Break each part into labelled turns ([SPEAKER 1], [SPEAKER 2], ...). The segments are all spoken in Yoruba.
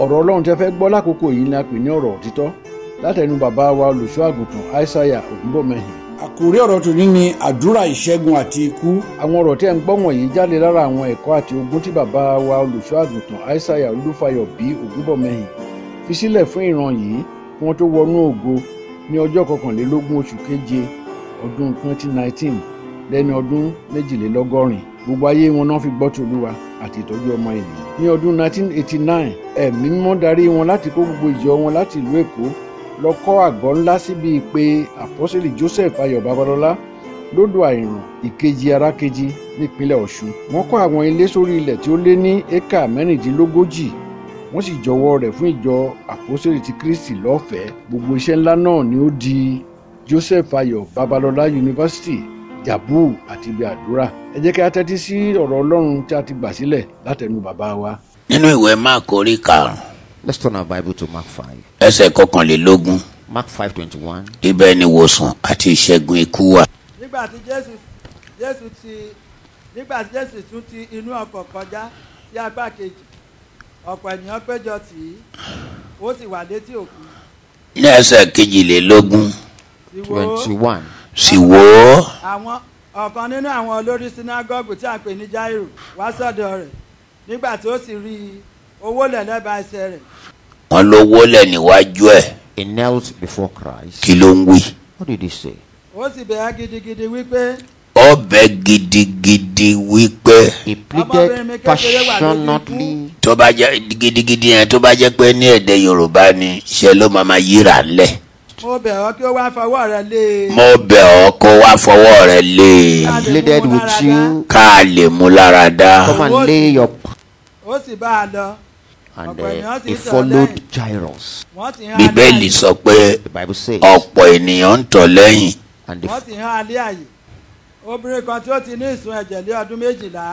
[SPEAKER 1] ọ̀rọ̀ ọlọ́run tẹ́ fẹ́ gbọ́ lákòókò yìí ni a pè ní ọ̀rọ̀ òtítọ́ látẹnu bàbá wa olùṣọ́ àgùntàn aishaiya ògúnbọ̀mọyìn.
[SPEAKER 2] àkòrí ọ̀rọ̀ tòní ni àdúrà ìṣẹ́gun àti ikú
[SPEAKER 1] àwọn ọ̀rọ̀ tí ẹ̀ ń gbọ́ wọ̀nyí jáde lára àwọn ẹ̀kọ́ àti ogun tí bàbá wa olùṣọ́ àgùntàn aishaiya olúfayọ bí ògúnbọ̀mọyìn fi sílẹ̀ fún ìran yìí kí wọ́n tó wọnú ògo ní ọjọ́ kọkànlélógún oṣù keje ọdún 2019 lẹ́ni ọdún méjìlélọ́gọ́rin gbogbo ayé wọn náà fi gbọ́ ti olúwa àti ìtọ́jú ọmọ ènìyàn. ní ọdún 1989 ẹ̀mí mímọ́ darí wọn láti kó gbogbo ìjọ wọn láti ìlú èkó lọ kọ́ àgọ́ ńlá síbi pé àpọ́sẹ̀lì joseph ayọ̀ babalọ́lá lódò àìràn ìkejì arákejì nípínlẹ̀ ọ̀ṣun. wọ́n kọ́ àwọn ilé sórí ilẹ̀ tí ó lé ní éka mẹ́rìndínlógójì wọ́n sì jọ̀wọ́ rẹ̀ fún ìjọ àpọ́sẹ̀lì ti kristi lọ́fẹ̀ẹ́ gbogbo iṣẹ́ ńlá náà ni ó di joseph ayọ̀ babalọ́lá yunifásitì jàbú àti ibi àdúrà ẹ jẹ́ kí a tẹ́tí sí ọ̀rọ̀ ọlọ́run tí a ti gbà sílẹ̀ látẹnu bàbá wa.
[SPEAKER 3] nínú ìwé mark orí karùnún
[SPEAKER 4] Let's turn our Bible to Mark 5.
[SPEAKER 3] ẹsẹ kọkànlélógún
[SPEAKER 4] Mark 5:21.
[SPEAKER 3] ibẹ ni ìwòsàn àti ìṣẹgun ikú wà.
[SPEAKER 5] nígbà tí jésù jésù ti nígbà tí jésù tún ti inú ọkọ̀ kọjá sí apá kejì ọ̀pọ̀ ènìyàn péjọ tì í ó sì wà létí òkun
[SPEAKER 3] ní ẹsẹ kejìlélógún
[SPEAKER 5] sì wò ó
[SPEAKER 4] 21.
[SPEAKER 3] sì wò ó
[SPEAKER 5] àwọn ọ̀kan nínú àwọn olórí sinagogu tí a pè ní jairu wá sọ́dọ̀ rẹ̀ nígbà tí ó sì rí i owó lẹ́lẹ́bàá ẹsẹ̀ rẹ̀
[SPEAKER 3] wọn ló wólẹ̀ níwájú ẹ̀
[SPEAKER 4] He knelt before Christ.
[SPEAKER 3] kí ló ń wí.
[SPEAKER 4] What did he say?
[SPEAKER 5] ó sì bẹ̀ ẹ́ gidigidi wípé
[SPEAKER 3] ọbẹ̀ gidigidi wípé
[SPEAKER 4] He pleaded passionately.
[SPEAKER 3] tó bá jẹ́ gidigidi yẹn tó bá jẹ́ pé ní èdè yorùbá ni ṣe ló máa ma yíra ńlẹ̀.
[SPEAKER 5] mo bẹ̀ ọ́ kí ó wá fọwọ́ rẹ̀ lé e
[SPEAKER 3] mo bẹ̀ ọ́ kó wá fọwọ́ rẹ lé e
[SPEAKER 4] He pleaded with you.
[SPEAKER 3] ká a lè mú lára dá.
[SPEAKER 4] Come and lay your.
[SPEAKER 5] ó sì bá a lọ
[SPEAKER 4] And uh, he followed Jairus.
[SPEAKER 5] wọ́n sì hàn án ní
[SPEAKER 3] bíbélì
[SPEAKER 5] àyè
[SPEAKER 3] sọ pé
[SPEAKER 4] The Bible says.
[SPEAKER 3] ọ̀pọ̀ ènìyàn ń tọ̀ lẹ́yìn
[SPEAKER 4] And
[SPEAKER 5] wọ́n
[SPEAKER 4] the,
[SPEAKER 5] sì hàn án ní àyè obìnrin kan tí ó ti ní ìsun ẹ̀jẹ̀ lé ọdún méjìlá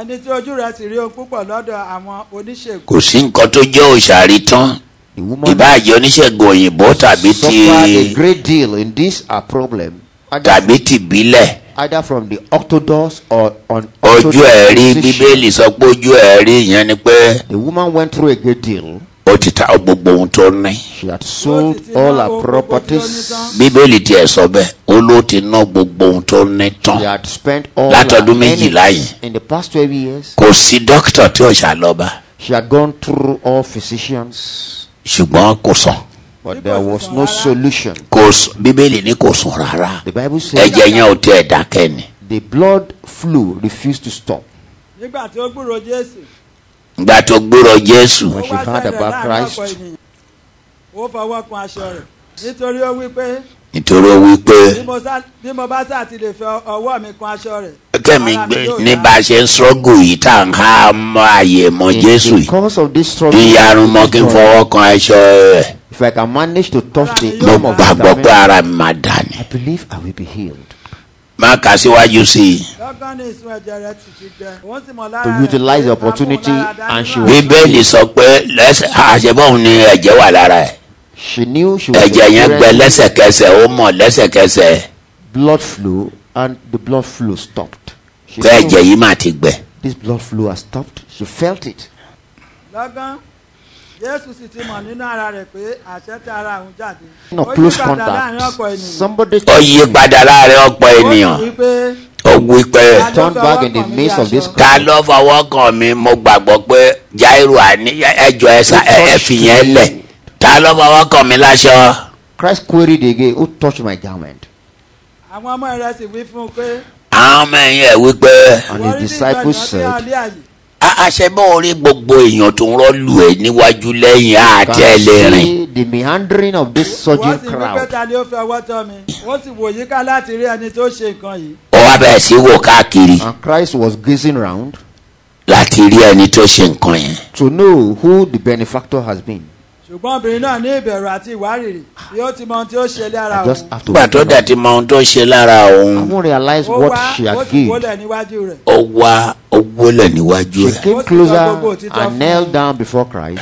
[SPEAKER 5] ẹni tí ojú rẹ̀ sì rí ohun púpọ̀ lọ́dọ̀ àwọn oníṣègùn
[SPEAKER 3] kò sí nǹkan tó jẹ́ òṣàrí tán
[SPEAKER 4] the woman
[SPEAKER 3] ìbáàjẹ́ oníṣègùn òyìnbó tàbí ti
[SPEAKER 4] suffered a great deal in this uh, problem. Either,
[SPEAKER 3] tàbí tìbílẹ̀
[SPEAKER 4] either from the orthodox or on
[SPEAKER 3] ojú ẹ̀ rí bíbélì sọ pé ojú ẹ̀ rí ìyẹn ni pé
[SPEAKER 4] The woman went through a great deal.
[SPEAKER 3] ó ti ta gbogbo ohun tó ní.
[SPEAKER 4] She had sold all her properties.
[SPEAKER 3] bíbélì tiẹ̀ sọ bẹ́ẹ̀ ó ló ti ná gbogbo ohun tó ní tán
[SPEAKER 4] She had spent all her
[SPEAKER 3] Látọdún méjìlá
[SPEAKER 4] earnings
[SPEAKER 3] yìí.
[SPEAKER 4] in the past 12 years.
[SPEAKER 3] kò sí dókítà tí òṣà lọ bá
[SPEAKER 4] She had gone through all physicians,
[SPEAKER 3] ṣùgbọ́n kò sàn
[SPEAKER 4] but there was no solution.
[SPEAKER 3] kò sàn bíbélì ní kò sàn rárá
[SPEAKER 4] The Bible says
[SPEAKER 3] ẹ̀jẹ̀ yẹn ò tiẹ̀ dákẹ́ ni.
[SPEAKER 4] the blood flow refused to stop.
[SPEAKER 5] nígbà tí ó gbúrò jésù
[SPEAKER 3] ìgbà tó gbúrọ̀ jésù
[SPEAKER 5] ó
[SPEAKER 4] When she
[SPEAKER 5] wá
[SPEAKER 4] heard
[SPEAKER 5] sẹ́rẹ̀
[SPEAKER 4] about
[SPEAKER 5] láàrín ọ̀pọ̀
[SPEAKER 4] Christ,
[SPEAKER 5] ènìyàn ó fọwọ́ kun aṣọ rẹ̀ nítorí ó wí pé
[SPEAKER 3] nítorí ó wí pé
[SPEAKER 5] bí mo sá- bí mo bá sá ti lè fẹ ọwọ́ mi kun aṣọ rẹ̀
[SPEAKER 3] kẹ́mi
[SPEAKER 5] ara mi
[SPEAKER 3] gbé
[SPEAKER 5] yóò
[SPEAKER 3] ní
[SPEAKER 5] yá."
[SPEAKER 3] bá a ṣe ń sọ́gù yìí tá à ń há mọ́ àyè mọ́ jésù
[SPEAKER 4] in the
[SPEAKER 3] yìí
[SPEAKER 4] course of this struggle,
[SPEAKER 3] ìyarun mọ́ kí n fọwọ́ kan aṣọ rẹ̀
[SPEAKER 4] if I can manage to touch the
[SPEAKER 3] mo
[SPEAKER 5] Mo
[SPEAKER 4] hem of this
[SPEAKER 3] gbàgbọ́ pé
[SPEAKER 4] garment,
[SPEAKER 3] ara mi máa dà ní.
[SPEAKER 4] I believe I will be healed.
[SPEAKER 3] má kà síwájú sí i
[SPEAKER 5] lọ́gán ní ìsun ẹ̀jẹ̀ rẹ̀ ti ti gbẹ òun sì mọ̀ lára
[SPEAKER 4] To
[SPEAKER 5] rẹ̀
[SPEAKER 4] utilize
[SPEAKER 5] pé
[SPEAKER 4] the opportunity
[SPEAKER 5] amúnláradá
[SPEAKER 4] and she
[SPEAKER 5] nínú
[SPEAKER 4] will-
[SPEAKER 3] bíbélì sọ pé lẹ́sẹ̀ àṣebọ́n ni ẹ̀jẹ̀ wà lára ẹ̀
[SPEAKER 4] She knew she was
[SPEAKER 3] ẹ̀jẹ̀ yẹn gbẹ
[SPEAKER 4] experiencing
[SPEAKER 3] lẹ́sẹ̀kẹsẹ̀ ó mọ̀ lẹ́sẹ̀kẹsẹ̀
[SPEAKER 4] blood flow, and the blood flow stopped. She
[SPEAKER 3] pé
[SPEAKER 4] knew
[SPEAKER 3] ẹ̀jẹ̀ yìí máa ti gbẹ.
[SPEAKER 4] this blood flow has stopped. She felt it.
[SPEAKER 5] lọ́gán jésù sì ti mọ̀ nínú ara rẹ̀ pé àṣẹ tí ara òun jáde
[SPEAKER 4] No
[SPEAKER 5] Ó
[SPEAKER 4] close
[SPEAKER 5] yípadà láàrin ọ̀pọ̀
[SPEAKER 4] contact.
[SPEAKER 5] ènìyàn
[SPEAKER 4] Somebody
[SPEAKER 3] ó yí padà láàrin ọ̀pọ̀
[SPEAKER 5] ó sì
[SPEAKER 3] ènìyàn
[SPEAKER 5] wí pé
[SPEAKER 3] ó wí pé
[SPEAKER 4] turned back in the midst of this
[SPEAKER 3] ta
[SPEAKER 4] crowd.
[SPEAKER 3] ló fọwọ́ kàn mí mo gbàgbọ́ pé jairu àní ẹjọ́ ẹ̀sà ẹ̀fìyẹn lẹ̀ ta ló fọwọ́ kàn mí láṣọ.
[SPEAKER 4] Christ queried again, Who touched my garment?
[SPEAKER 5] àwọn ọmọ rẹ̀ sì wí fún un pé
[SPEAKER 3] àwọn ọmọ ẹ̀yìn ẹ̀ wípé
[SPEAKER 4] And
[SPEAKER 5] "Wọ́n
[SPEAKER 4] his
[SPEAKER 5] rí bí
[SPEAKER 4] disciples
[SPEAKER 5] ìgbàgbọ́ tí a
[SPEAKER 4] said,
[SPEAKER 5] lé àyè
[SPEAKER 3] aṣẹ́bọ̀ orí gbogbo èèyàn tó ń rọ́ọ̀lù ẹ̀ níwájú lẹ́yìn àti
[SPEAKER 4] Can
[SPEAKER 3] ẹlẹ́ rìn.
[SPEAKER 4] see the meandering of this
[SPEAKER 5] wọ́n
[SPEAKER 4] surging
[SPEAKER 5] sì wí pé
[SPEAKER 4] crowd.
[SPEAKER 5] ta ni ó fi ọwọ́ tọ́ mi ó sì wò yíká láti rí ẹni tó ṣe nǹkan yìí
[SPEAKER 3] ó wá bẹ̀rẹ̀ sí wò káàkiri
[SPEAKER 4] And Christ was gazing round
[SPEAKER 3] láti rí ẹni tó ṣe nǹkan yẹn.
[SPEAKER 4] to know who the benefactor has been.
[SPEAKER 5] ṣùgbọ́n obìnrin náà ní ìbẹ̀rù àti ìwárìrì bí ó ti mọ ohun tí ó ṣe lára
[SPEAKER 4] I just
[SPEAKER 5] òun
[SPEAKER 4] have to.
[SPEAKER 3] nígbà tó
[SPEAKER 4] I
[SPEAKER 3] dàtí mọ ohun tó ṣe lára òun
[SPEAKER 4] won't realize
[SPEAKER 5] ó wá
[SPEAKER 4] Oh, what she
[SPEAKER 5] ó
[SPEAKER 4] had
[SPEAKER 5] sì
[SPEAKER 4] gained.
[SPEAKER 5] wólẹ̀ níwájú rẹ̀
[SPEAKER 3] ó wá owó lẹ̀ níwájú
[SPEAKER 4] She
[SPEAKER 3] ẹ̀.
[SPEAKER 4] came
[SPEAKER 5] What's the Bible about
[SPEAKER 4] closer
[SPEAKER 5] it
[SPEAKER 4] and
[SPEAKER 5] after?
[SPEAKER 4] knelt down before Christ.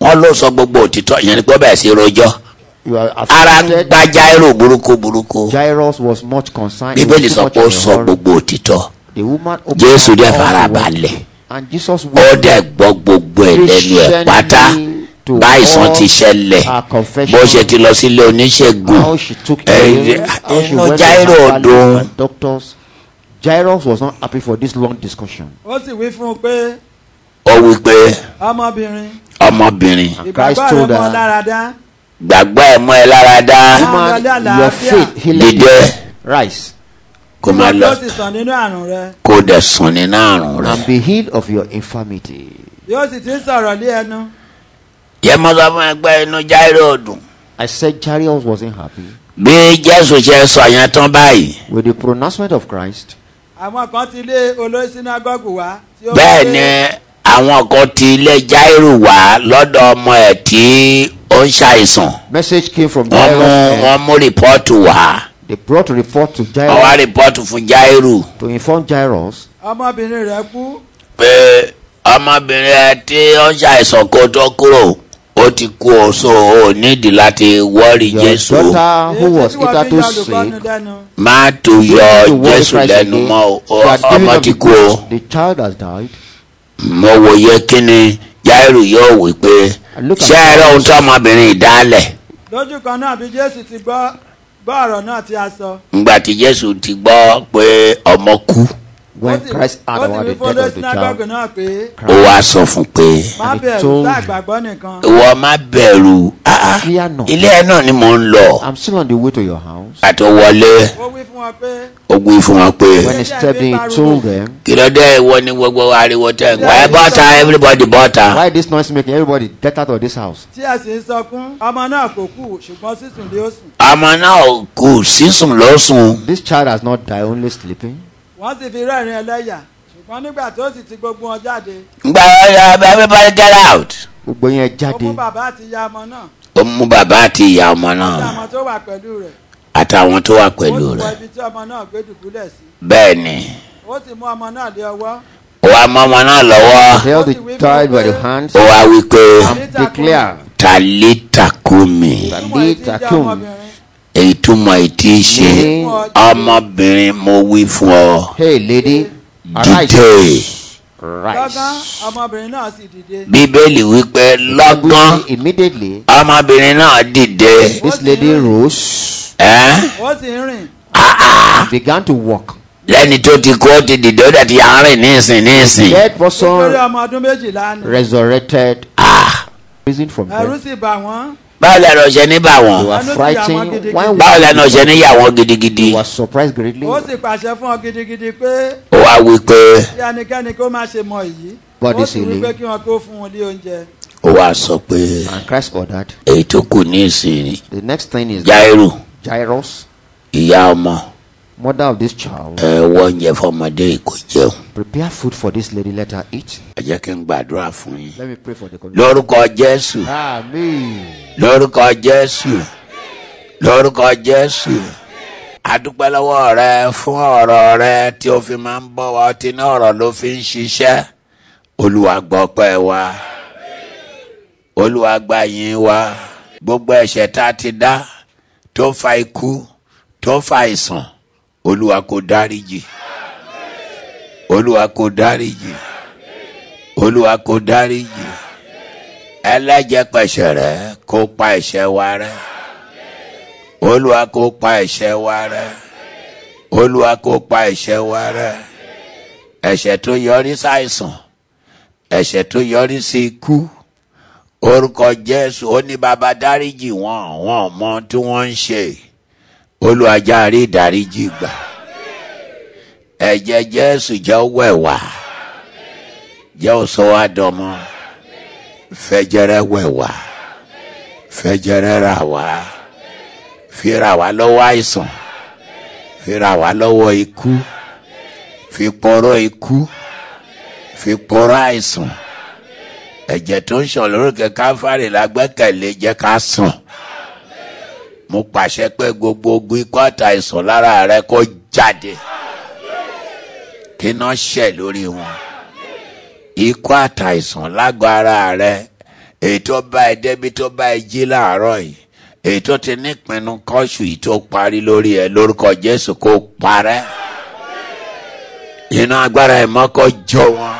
[SPEAKER 3] wọ́n ló sọ gbogbo òtítọ́ ìyẹn ni pé ó bẹ̀rẹ̀ sí rojọ́.
[SPEAKER 4] You are
[SPEAKER 3] ara ń
[SPEAKER 4] affected.
[SPEAKER 3] gba jairu burúkú burúkú.
[SPEAKER 4] Jairus was much concerned. He
[SPEAKER 3] bíbélì
[SPEAKER 4] was
[SPEAKER 3] sọ
[SPEAKER 4] much
[SPEAKER 3] pé ó
[SPEAKER 4] in a
[SPEAKER 3] sọ
[SPEAKER 4] hurry.
[SPEAKER 3] gbogbo òtítọ́
[SPEAKER 4] The woman opened
[SPEAKER 3] jésù
[SPEAKER 4] her
[SPEAKER 3] dẹ̀
[SPEAKER 4] all
[SPEAKER 3] fara
[SPEAKER 4] the way.
[SPEAKER 3] balẹ̀
[SPEAKER 4] And Jesus
[SPEAKER 3] ó
[SPEAKER 4] went
[SPEAKER 3] dẹ̀ gbọ́ gbogbo gbogbo ẹlẹ́ni ẹ̀ pátá
[SPEAKER 4] Listening to
[SPEAKER 3] bá àìsàn
[SPEAKER 4] all
[SPEAKER 3] ti ṣẹlẹ̀
[SPEAKER 4] her confession.
[SPEAKER 3] bó ṣe ti lọ sílé oníṣègùn
[SPEAKER 4] how she took
[SPEAKER 3] ẹ,
[SPEAKER 4] him, how she
[SPEAKER 3] inú
[SPEAKER 4] went to
[SPEAKER 3] Jairo
[SPEAKER 4] her family
[SPEAKER 3] dùn
[SPEAKER 4] and doctors. Jairus was not happy for this long discussion.
[SPEAKER 5] ó sì wí fún un pé
[SPEAKER 3] ó wí pé
[SPEAKER 5] ọmọbìnrin
[SPEAKER 3] ọmọbìnrin
[SPEAKER 4] Christ
[SPEAKER 5] ìgbàgbọ́ rẹ
[SPEAKER 4] told
[SPEAKER 5] mọ́
[SPEAKER 4] her-
[SPEAKER 5] lára dá
[SPEAKER 3] gbàgbọ́ ẹ̀ mọ́ ẹ lára dá
[SPEAKER 4] Woman,
[SPEAKER 5] Hallelujah.
[SPEAKER 4] your faith healed you.
[SPEAKER 3] dídẹ́
[SPEAKER 4] Rise
[SPEAKER 3] kó
[SPEAKER 5] tí
[SPEAKER 3] má
[SPEAKER 5] wọn
[SPEAKER 3] lọ
[SPEAKER 5] yóò sì sàn nínú àrùn rẹ
[SPEAKER 3] kó dẹ̀ sùn nínú àrùn rẹ̀.
[SPEAKER 4] and be healed of your infirmity.
[SPEAKER 5] yóò sì ti ń sọ̀rọ̀ lé ẹnu
[SPEAKER 3] yẹ mọ́ sọ fún ẹgbẹ́ inú Jairo dùn.
[SPEAKER 4] I said Jairus wasn't happy
[SPEAKER 3] bí Jésù ṣe sọ yẹn tán báyìí
[SPEAKER 4] with the pronouncement of Christ.
[SPEAKER 5] àwọn kan ti lé olórí sínágọ́gù wá tí ó
[SPEAKER 3] bẹ́ẹ̀
[SPEAKER 5] wí
[SPEAKER 3] ni
[SPEAKER 5] pé,
[SPEAKER 3] àwọn kan ti ilé Jairo wá lọ́dọ̀ ọmọ ẹ̀ tí ó ń ṣàìsàn
[SPEAKER 4] Message came from
[SPEAKER 3] wọ́n
[SPEAKER 4] Jairus.
[SPEAKER 3] mú
[SPEAKER 4] and
[SPEAKER 3] wọ́n mú rìpọ́ọ̀tù wá
[SPEAKER 4] They brought a report to
[SPEAKER 3] wọ́n wá
[SPEAKER 4] Jairus
[SPEAKER 3] rìpọ́ọ̀tù fún Jairo
[SPEAKER 4] to inform Jairus
[SPEAKER 5] ọmọbìnrin rẹ kú
[SPEAKER 3] pé ọmọbìnrin ẹ tí ó ń ṣàìsàn kó tó kúrò ó ti kú o so o nídìí láti wọ́ọ̀rì
[SPEAKER 4] your
[SPEAKER 3] Jésù
[SPEAKER 4] daughter Ah, who
[SPEAKER 5] Èyí
[SPEAKER 4] was
[SPEAKER 5] tí wọ́n fi
[SPEAKER 4] hitherto
[SPEAKER 5] yan olùkọ́ni
[SPEAKER 4] sick.
[SPEAKER 5] dẹnu.
[SPEAKER 3] má tu yọ
[SPEAKER 4] to worry
[SPEAKER 3] Jésù
[SPEAKER 4] Christ
[SPEAKER 3] lẹ́nu
[SPEAKER 4] again.
[SPEAKER 3] mọ́ o
[SPEAKER 4] You had given
[SPEAKER 3] ọmọ
[SPEAKER 4] up
[SPEAKER 3] ti
[SPEAKER 4] the
[SPEAKER 3] kú o.
[SPEAKER 4] ghost. The child has died.
[SPEAKER 3] mo wòye kíni Jáírù yóò wí pé ṣé ẹ rí ohun tí ọmọbìnrin yìí dálẹ̀
[SPEAKER 5] lójú kan náà bí jésù ti gbọ́ gbọ́ ọ̀rọ̀ náà tí a sọ
[SPEAKER 3] ńgbà tí Jésù ti gbọ́ pé ọmọ kú
[SPEAKER 5] ó
[SPEAKER 4] When
[SPEAKER 5] sì
[SPEAKER 4] Christ heard
[SPEAKER 5] ó sì
[SPEAKER 4] about
[SPEAKER 5] wí
[SPEAKER 4] the
[SPEAKER 5] fún
[SPEAKER 4] death
[SPEAKER 5] olórí
[SPEAKER 4] of the
[SPEAKER 5] sínágọ́gù
[SPEAKER 4] child,
[SPEAKER 5] náà pé
[SPEAKER 3] ó wá sọ fún pé
[SPEAKER 5] má
[SPEAKER 4] And he
[SPEAKER 5] bẹ̀rù
[SPEAKER 4] told-
[SPEAKER 5] sáà gbàgbọ́ nìkan
[SPEAKER 3] ìwọ má bẹ̀rù ah, ah,
[SPEAKER 4] fear not.
[SPEAKER 3] ilé ẹ náà ni mò ń lọ
[SPEAKER 4] I'm still on the way to your house.
[SPEAKER 3] àti wọlé
[SPEAKER 5] ó wí fún wọn pé
[SPEAKER 3] ó gbé fún wọn pé
[SPEAKER 4] When he stepped in, he told them,
[SPEAKER 3] kí ló dé ìwọ ni gbogbo ariwo tẹ ń pa ẹ bọ́ta everybody bọ́ta
[SPEAKER 4] Why this noise making everybody get out of this house?
[SPEAKER 5] tí ẹ sì ń sọkún ọmọ náà kò kú ṣùgbọ́n sísùn lé ó sùn
[SPEAKER 3] ọmọ náà ò kú sísùn ló sùn
[SPEAKER 4] This child has not died, only sleeping.
[SPEAKER 5] wọ́n sì fi rẹ́rìn ẹlẹ́yà ṣùgbọ́n nígbà tó sì ti gbogbo wọn jáde
[SPEAKER 3] ńgbà everybody get out
[SPEAKER 4] Gbogbo yẹn
[SPEAKER 5] ó mú
[SPEAKER 4] jáde.
[SPEAKER 5] bàbá àti ìyá ọmọ náà
[SPEAKER 3] ó mú bàbá àti ìyá ọmọ náà
[SPEAKER 4] Ah.
[SPEAKER 5] àti àwọn tó wà pẹ̀lú rẹ̀
[SPEAKER 3] àtàwọn tó wà
[SPEAKER 5] ó
[SPEAKER 3] pẹ̀lú
[SPEAKER 5] sì wọ
[SPEAKER 3] rẹ̀
[SPEAKER 5] ibi tí ọmọ náà gbé dùbúlẹ̀ sí
[SPEAKER 3] bẹ́ẹ̀ ni
[SPEAKER 5] ó sì mú ọmọ náà lé ọwọ́
[SPEAKER 3] ó wá mọ́ ọmọ náà lọ́wọ́
[SPEAKER 4] Held the child by the hands
[SPEAKER 3] ó wá wí pé
[SPEAKER 4] and declared,
[SPEAKER 3] tàlítà kú mi
[SPEAKER 5] túmọ̀ èyí tí ń jẹ́
[SPEAKER 4] Takum.
[SPEAKER 5] ọmọbìnrin
[SPEAKER 3] èyí túmọ̀ èyí tí í ṣe ọmọbìnrin mo wí fún ọ
[SPEAKER 4] Hey, lady,
[SPEAKER 3] dìde
[SPEAKER 4] arise.
[SPEAKER 5] lọ́gán
[SPEAKER 4] Rise.
[SPEAKER 5] ọmọbìnrin náà sì dìde
[SPEAKER 3] bíbélì wípé lọ́gán
[SPEAKER 4] Immediately,
[SPEAKER 3] ọmọbìnrin náà dìde
[SPEAKER 4] this lady rose,
[SPEAKER 3] ẹ́
[SPEAKER 5] ó sì ń rìn
[SPEAKER 4] began to walk.
[SPEAKER 3] lẹ́ni tó ti kú ó ti dìde ó dẹ̀ ti yà ń rìn nísìn nísìn
[SPEAKER 4] Dead
[SPEAKER 5] nítorí
[SPEAKER 4] person
[SPEAKER 5] ọmọ ọdún méjìlá ni
[SPEAKER 4] resurrected. Risen from
[SPEAKER 5] ẹ̀rù
[SPEAKER 4] death.
[SPEAKER 5] sì bà wọ́n
[SPEAKER 3] báwo lẹ́nu ọ̀ṣẹ́ ní bà
[SPEAKER 4] They
[SPEAKER 3] wọ́n
[SPEAKER 4] were
[SPEAKER 5] Ẹnu ti àwọn
[SPEAKER 4] frightened.
[SPEAKER 5] gidigidi.
[SPEAKER 4] One
[SPEAKER 3] báwo lẹ́nu ọ̀ṣẹ́ ní yà wọ́n gidigidi
[SPEAKER 4] was surprised greatly.
[SPEAKER 5] ó sì pàṣẹ fún ọ gidigidi pé
[SPEAKER 3] ó wá wí pé
[SPEAKER 5] kí ẹnikẹ́ni kó má ṣe mọ èyí
[SPEAKER 4] Bọ́dí
[SPEAKER 5] ó
[SPEAKER 4] sì
[SPEAKER 5] sì
[SPEAKER 4] le.
[SPEAKER 5] wí pé kí wọn kó fún un ní oúnjẹ
[SPEAKER 3] ó wá sọ pé
[SPEAKER 4] And Christ ordered.
[SPEAKER 3] èyí tó kù nísìn
[SPEAKER 4] The next thing is
[SPEAKER 3] Jáírù
[SPEAKER 4] Jairus,
[SPEAKER 3] ìyá ọmọ
[SPEAKER 4] mother of this child,
[SPEAKER 3] ẹ wọ oúnjẹ fọmọdé yìí kó jẹun
[SPEAKER 4] prepare food for this lady. Let her eat.
[SPEAKER 3] ẹ jẹ́ kí n gbàdúrà fún yín.
[SPEAKER 4] Let me pray for the community.
[SPEAKER 3] lórúkọ jésù
[SPEAKER 4] Amen.
[SPEAKER 3] lórúkọ jésù lórúkọ jésù adúpẹ́ lọ́wọ́ rẹ fún ọ̀rọ̀ rẹ tí o fi máa ń bọ̀ wá ọtí ní ọ̀rọ̀ ló fi ń ṣiṣẹ́ olúwa gbọ́ pẹ́ wa olúwa gba yín wa gbogbo ẹ̀ṣẹ̀ tá a ti dá tó fa ikú tó fa àìsàn olúwa kò dáríjì olúwa kò dáríjì olúwa kò dáríjì ẹlẹ́jẹ̀ pẹ̀ṣẹ̀ rẹ̀ kó pa ẹ̀ṣẹ̀ wa rẹ́ olúwa kó pa ẹ̀ṣẹ̀ wa rẹ́ olúwa kó pa ẹ̀ṣẹ̀ wa rẹ́ ẹ̀ṣẹ̀ tó yọrí sáìsàn ẹ̀ṣẹ̀ tó yọrí sí ikú orúkọ jésù ó ní baba dáríjì wọn wọn ò mọ ohun tí wọ́n ń ṣe olúwa járe ìdáríjì gbà ẹ̀jẹ̀ jésù jẹ́ ó wẹ̀ wá jẹ́ ó sọ wá dọmọ fẹjẹrẹ wẹ wá fẹjẹrẹ ra wá fira wá lọ́wọ́ àìsàn fira wá lọ́wọ́ ikú fi pọrọ ikú fi pọrọ àìsàn ẹ̀jẹ̀ tó ń sàn lórúkẹ káfárì lágbẹ́kẹ̀lé jẹ́ ká sàn mo pàṣẹ pé gbogbo ogun ikú àtàìsàn lára rẹ kó jáde kí iná ṣẹ̀ lórí wọn ikú àtàìsàn lágọ̀ ara rẹ èyí tó bá ẹ débi tó bá ẹ jí láàárọ̀ yìí èyí tó ti nípinnu kọ́ṣù yìí tó parí lórí ẹ lórúkọ jésù kó parẹ́ iná agbára ìmọ́kọ́ jó wọn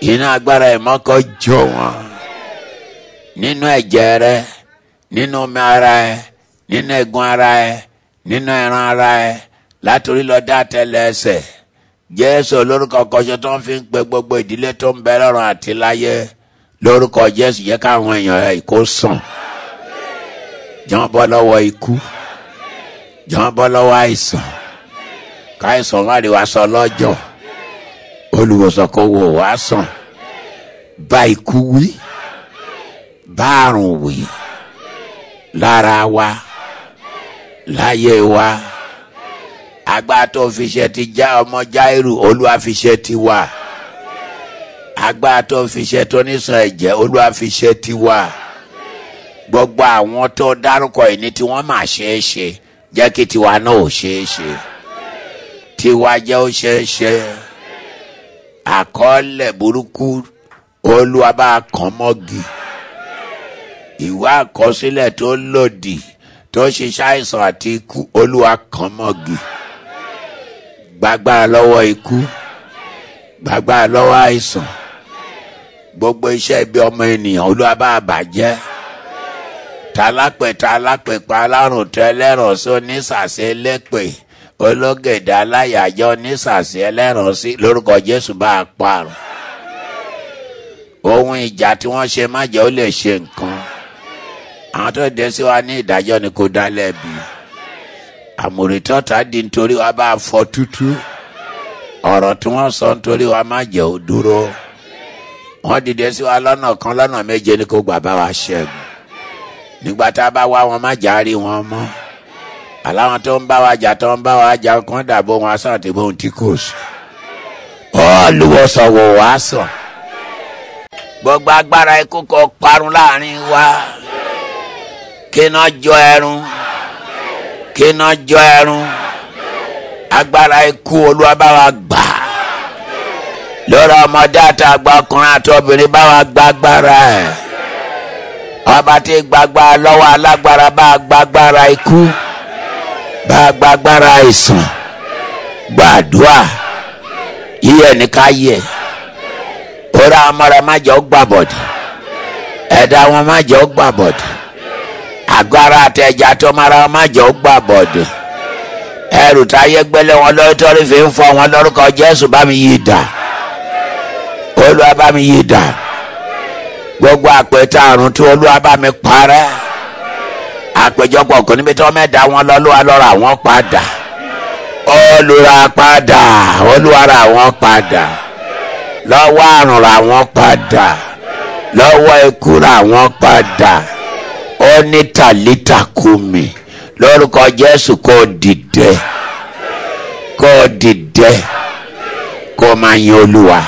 [SPEAKER 3] iná agbára ìmọ́kọ́ jó wọn nínú ẹ̀jẹ̀ rẹ nínú omi ara ẹ nínú ẹ̀gún ara ẹ nínú ẹran ara ẹ látòrí lọ dá tẹlẹ ẹsẹ̀ jésù lórúkọ kọjọ tó ń fi ń pe gbogbo ìdílé tó ń bẹ lọ́run àti láyé lórúkọ jésù yẹ káwọn èèyàn ẹ̀ kó sàn jọ́n bọ́ lọ́wọ́ ikú jọ́n bọ́ lọ́wọ́ àìsàn káìsàn má rí wa sọ lọ́jọ́ olùwòsàn kò wò wá sàn bá ikú wí bá àrùn wí lára wa láyé wa agbára tó fi ṣe ti já ọmọ jáírù olúwa fi ṣe ti wà agbára tó fi ṣe tó nísàn ẹ̀jẹ̀ olúwa fi ṣe ti wà gbogbo àwọn tó dárúkọ ìní tí wọ́n mà ṣe é ṣe jẹ́ kí tiwa náà ò ṣe é ṣe tiwa jẹ́ ó ṣe é ṣe àkọọ́lẹ̀ burúkú olúwa bá a kàn mọ́gi ìwé àkọsílẹ̀ tó lòdì tó ṣiṣẹ́ àìsàn àti ikú olúwa kàn mọ́gi gbàgbára lọ́wọ́ ikú gbàgbára lọ́wọ́ àìsàn gbogbo iṣẹ́ ibi ọmọ ènìyàn olúwa bá a bàjẹ́ talápẹ̀tà alápẹ̀pẹ̀ alárùn tẹ́lẹ̀rọ̀ sí onísàsẹ́ lẹ́pẹ̀ ológèdè aláyàjọ onísàsẹ́ ẹlẹ́rọ̀ sí lórúkọ jésù bá a parun. ohun ìjà tí wọ́n ṣe má jẹ́ ó lè ṣe nǹkan àwọn tó dé sí wa ní ìdájọ́ ni kò dá lẹ́bi àmùrìtọ́ta di nítorí wa bá a fọ́ tútú ọ̀rọ̀ tí wọ́n sọ nítorí wa má jẹ́ ó dúró wọ́n dìde sí wa lọ́nà kan lọ́nà méje ni kò gbà bá wa ṣẹ́gun nígbà tá a bá wá wọn má jà rí wọn mọ aláwọn tó ń bá wa jà tó ń bá wa jà kán dàbò wọn aṣọ àti bóun tí kò sùn. olùwòsàn wò wá sàn gbogbo agbára ikú kọ parun láàrin wa kíná jọ ẹrun kíná jọ ẹrun agbára ikú olúwa bá wa gbà lórí ọmọdé àtàgbà ọkùnrin àti obìnrin bá wa gbà agbára ẹ ọba tí gbagba lọ́wọ́ alágbára bá gbagbára ikú bá gbagbára ìsàn gbàdúà yíyẹ nìka yẹ orí àwọn ọmọ rẹ má jẹ́ ó gbà bọ̀dì ẹ̀dá wọn má jẹ́ ó gbà bọ̀dì àgọ́ra àtẹ̀jà tó mara wọn má jẹ́ ó gbà bọ̀dì ẹrù táyé gbélé wọn lórí torí fi ń fọ wọn lórúkọ jésù bá mi yí dà olúwa bá mi yí dà gbogbo àpẹtẹ àrùn tí olúwa bá mi parẹ́ àpẹjọpọ̀ kò níbi tí wọ́n mẹ́ta wọn lọ lọ́wọ́ lọ́rọ̀ àwọn padà olùrà padà olúwa rà wọ́n padà lọ́wọ́ àrùn rà wọ́n padà lọ́wọ́ ikú rà wọ́n padà ó ní tàlítà kú mi lórúkọ jésù kò dìde kò dìde kò máa yin olúwa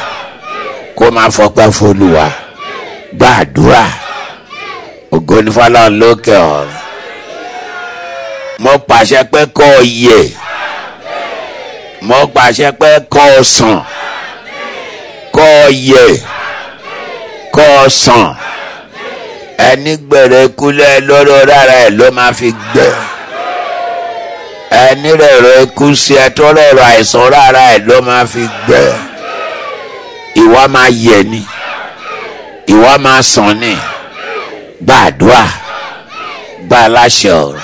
[SPEAKER 3] kò máa fọpẹ́ fọlùwà gbàdúrà ògo ní fọlọ́run lókè ọ̀run mo pàṣẹ pé kó o yè mo pàṣẹ pé kó o sàn kó o yè kó o sàn ẹni gbèrè kúlẹ̀ lórí rárá ẹ̀ ló máa fi gbẹ ẹni rẹ̀rọ̀ ikú sí ẹ tó rẹ̀rọ̀ àìsàn rárá ẹ̀ ló máa fi gbẹ ìwọ máa yẹ ni ìwọ máa sàn ní gbàdúà gbà láṣẹ ọrọ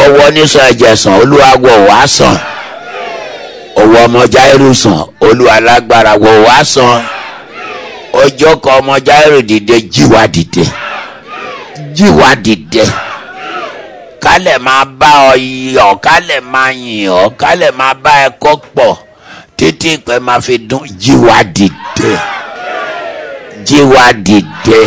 [SPEAKER 3] ọwọ nísọ ẹjẹ sàn olúwa wọ wá sàn ọwọ ọmọ jáírù sàn olúwa lágbára wọ wá sàn ọjọ kan ọmọ jáírù dìde jíwa dìde jíwa dìde kálẹ̀ máa bá ọ yọ kálẹ̀ máa yìn ọ kálẹ̀ máa bá ẹ kọ́ pọ̀ títí ìpẹ́ máa fi dún jíwa dìde jí wa dìde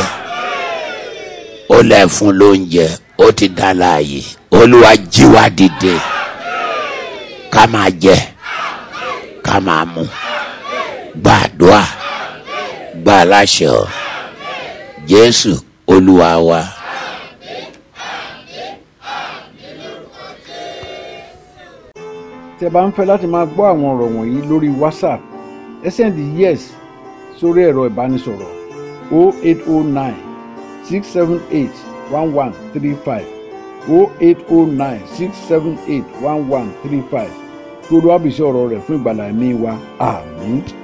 [SPEAKER 3] ó lẹ̀ fún lóúnjẹ ó ti dá láàyè olúwa jí wa dìde ká máa jẹ ká máa mu gbàdúà gbà láṣẹ ọ jésù olúwa wa.
[SPEAKER 1] tí ẹ bá ń fẹ́ láti máa gbọ́ àwọn ọ̀rọ̀ wọ̀nyí lórí whatsapp ẹ sẹ́ndì yes sórí ẹ̀rọ ìbánisọ̀rọ̀ 0809 678 1135 0809 678 1135 tó lọ́wọ́ àbísí ọ̀rọ̀ rẹ̀ fún ìgbàlá ẹ̀mí wa àmì. Ah,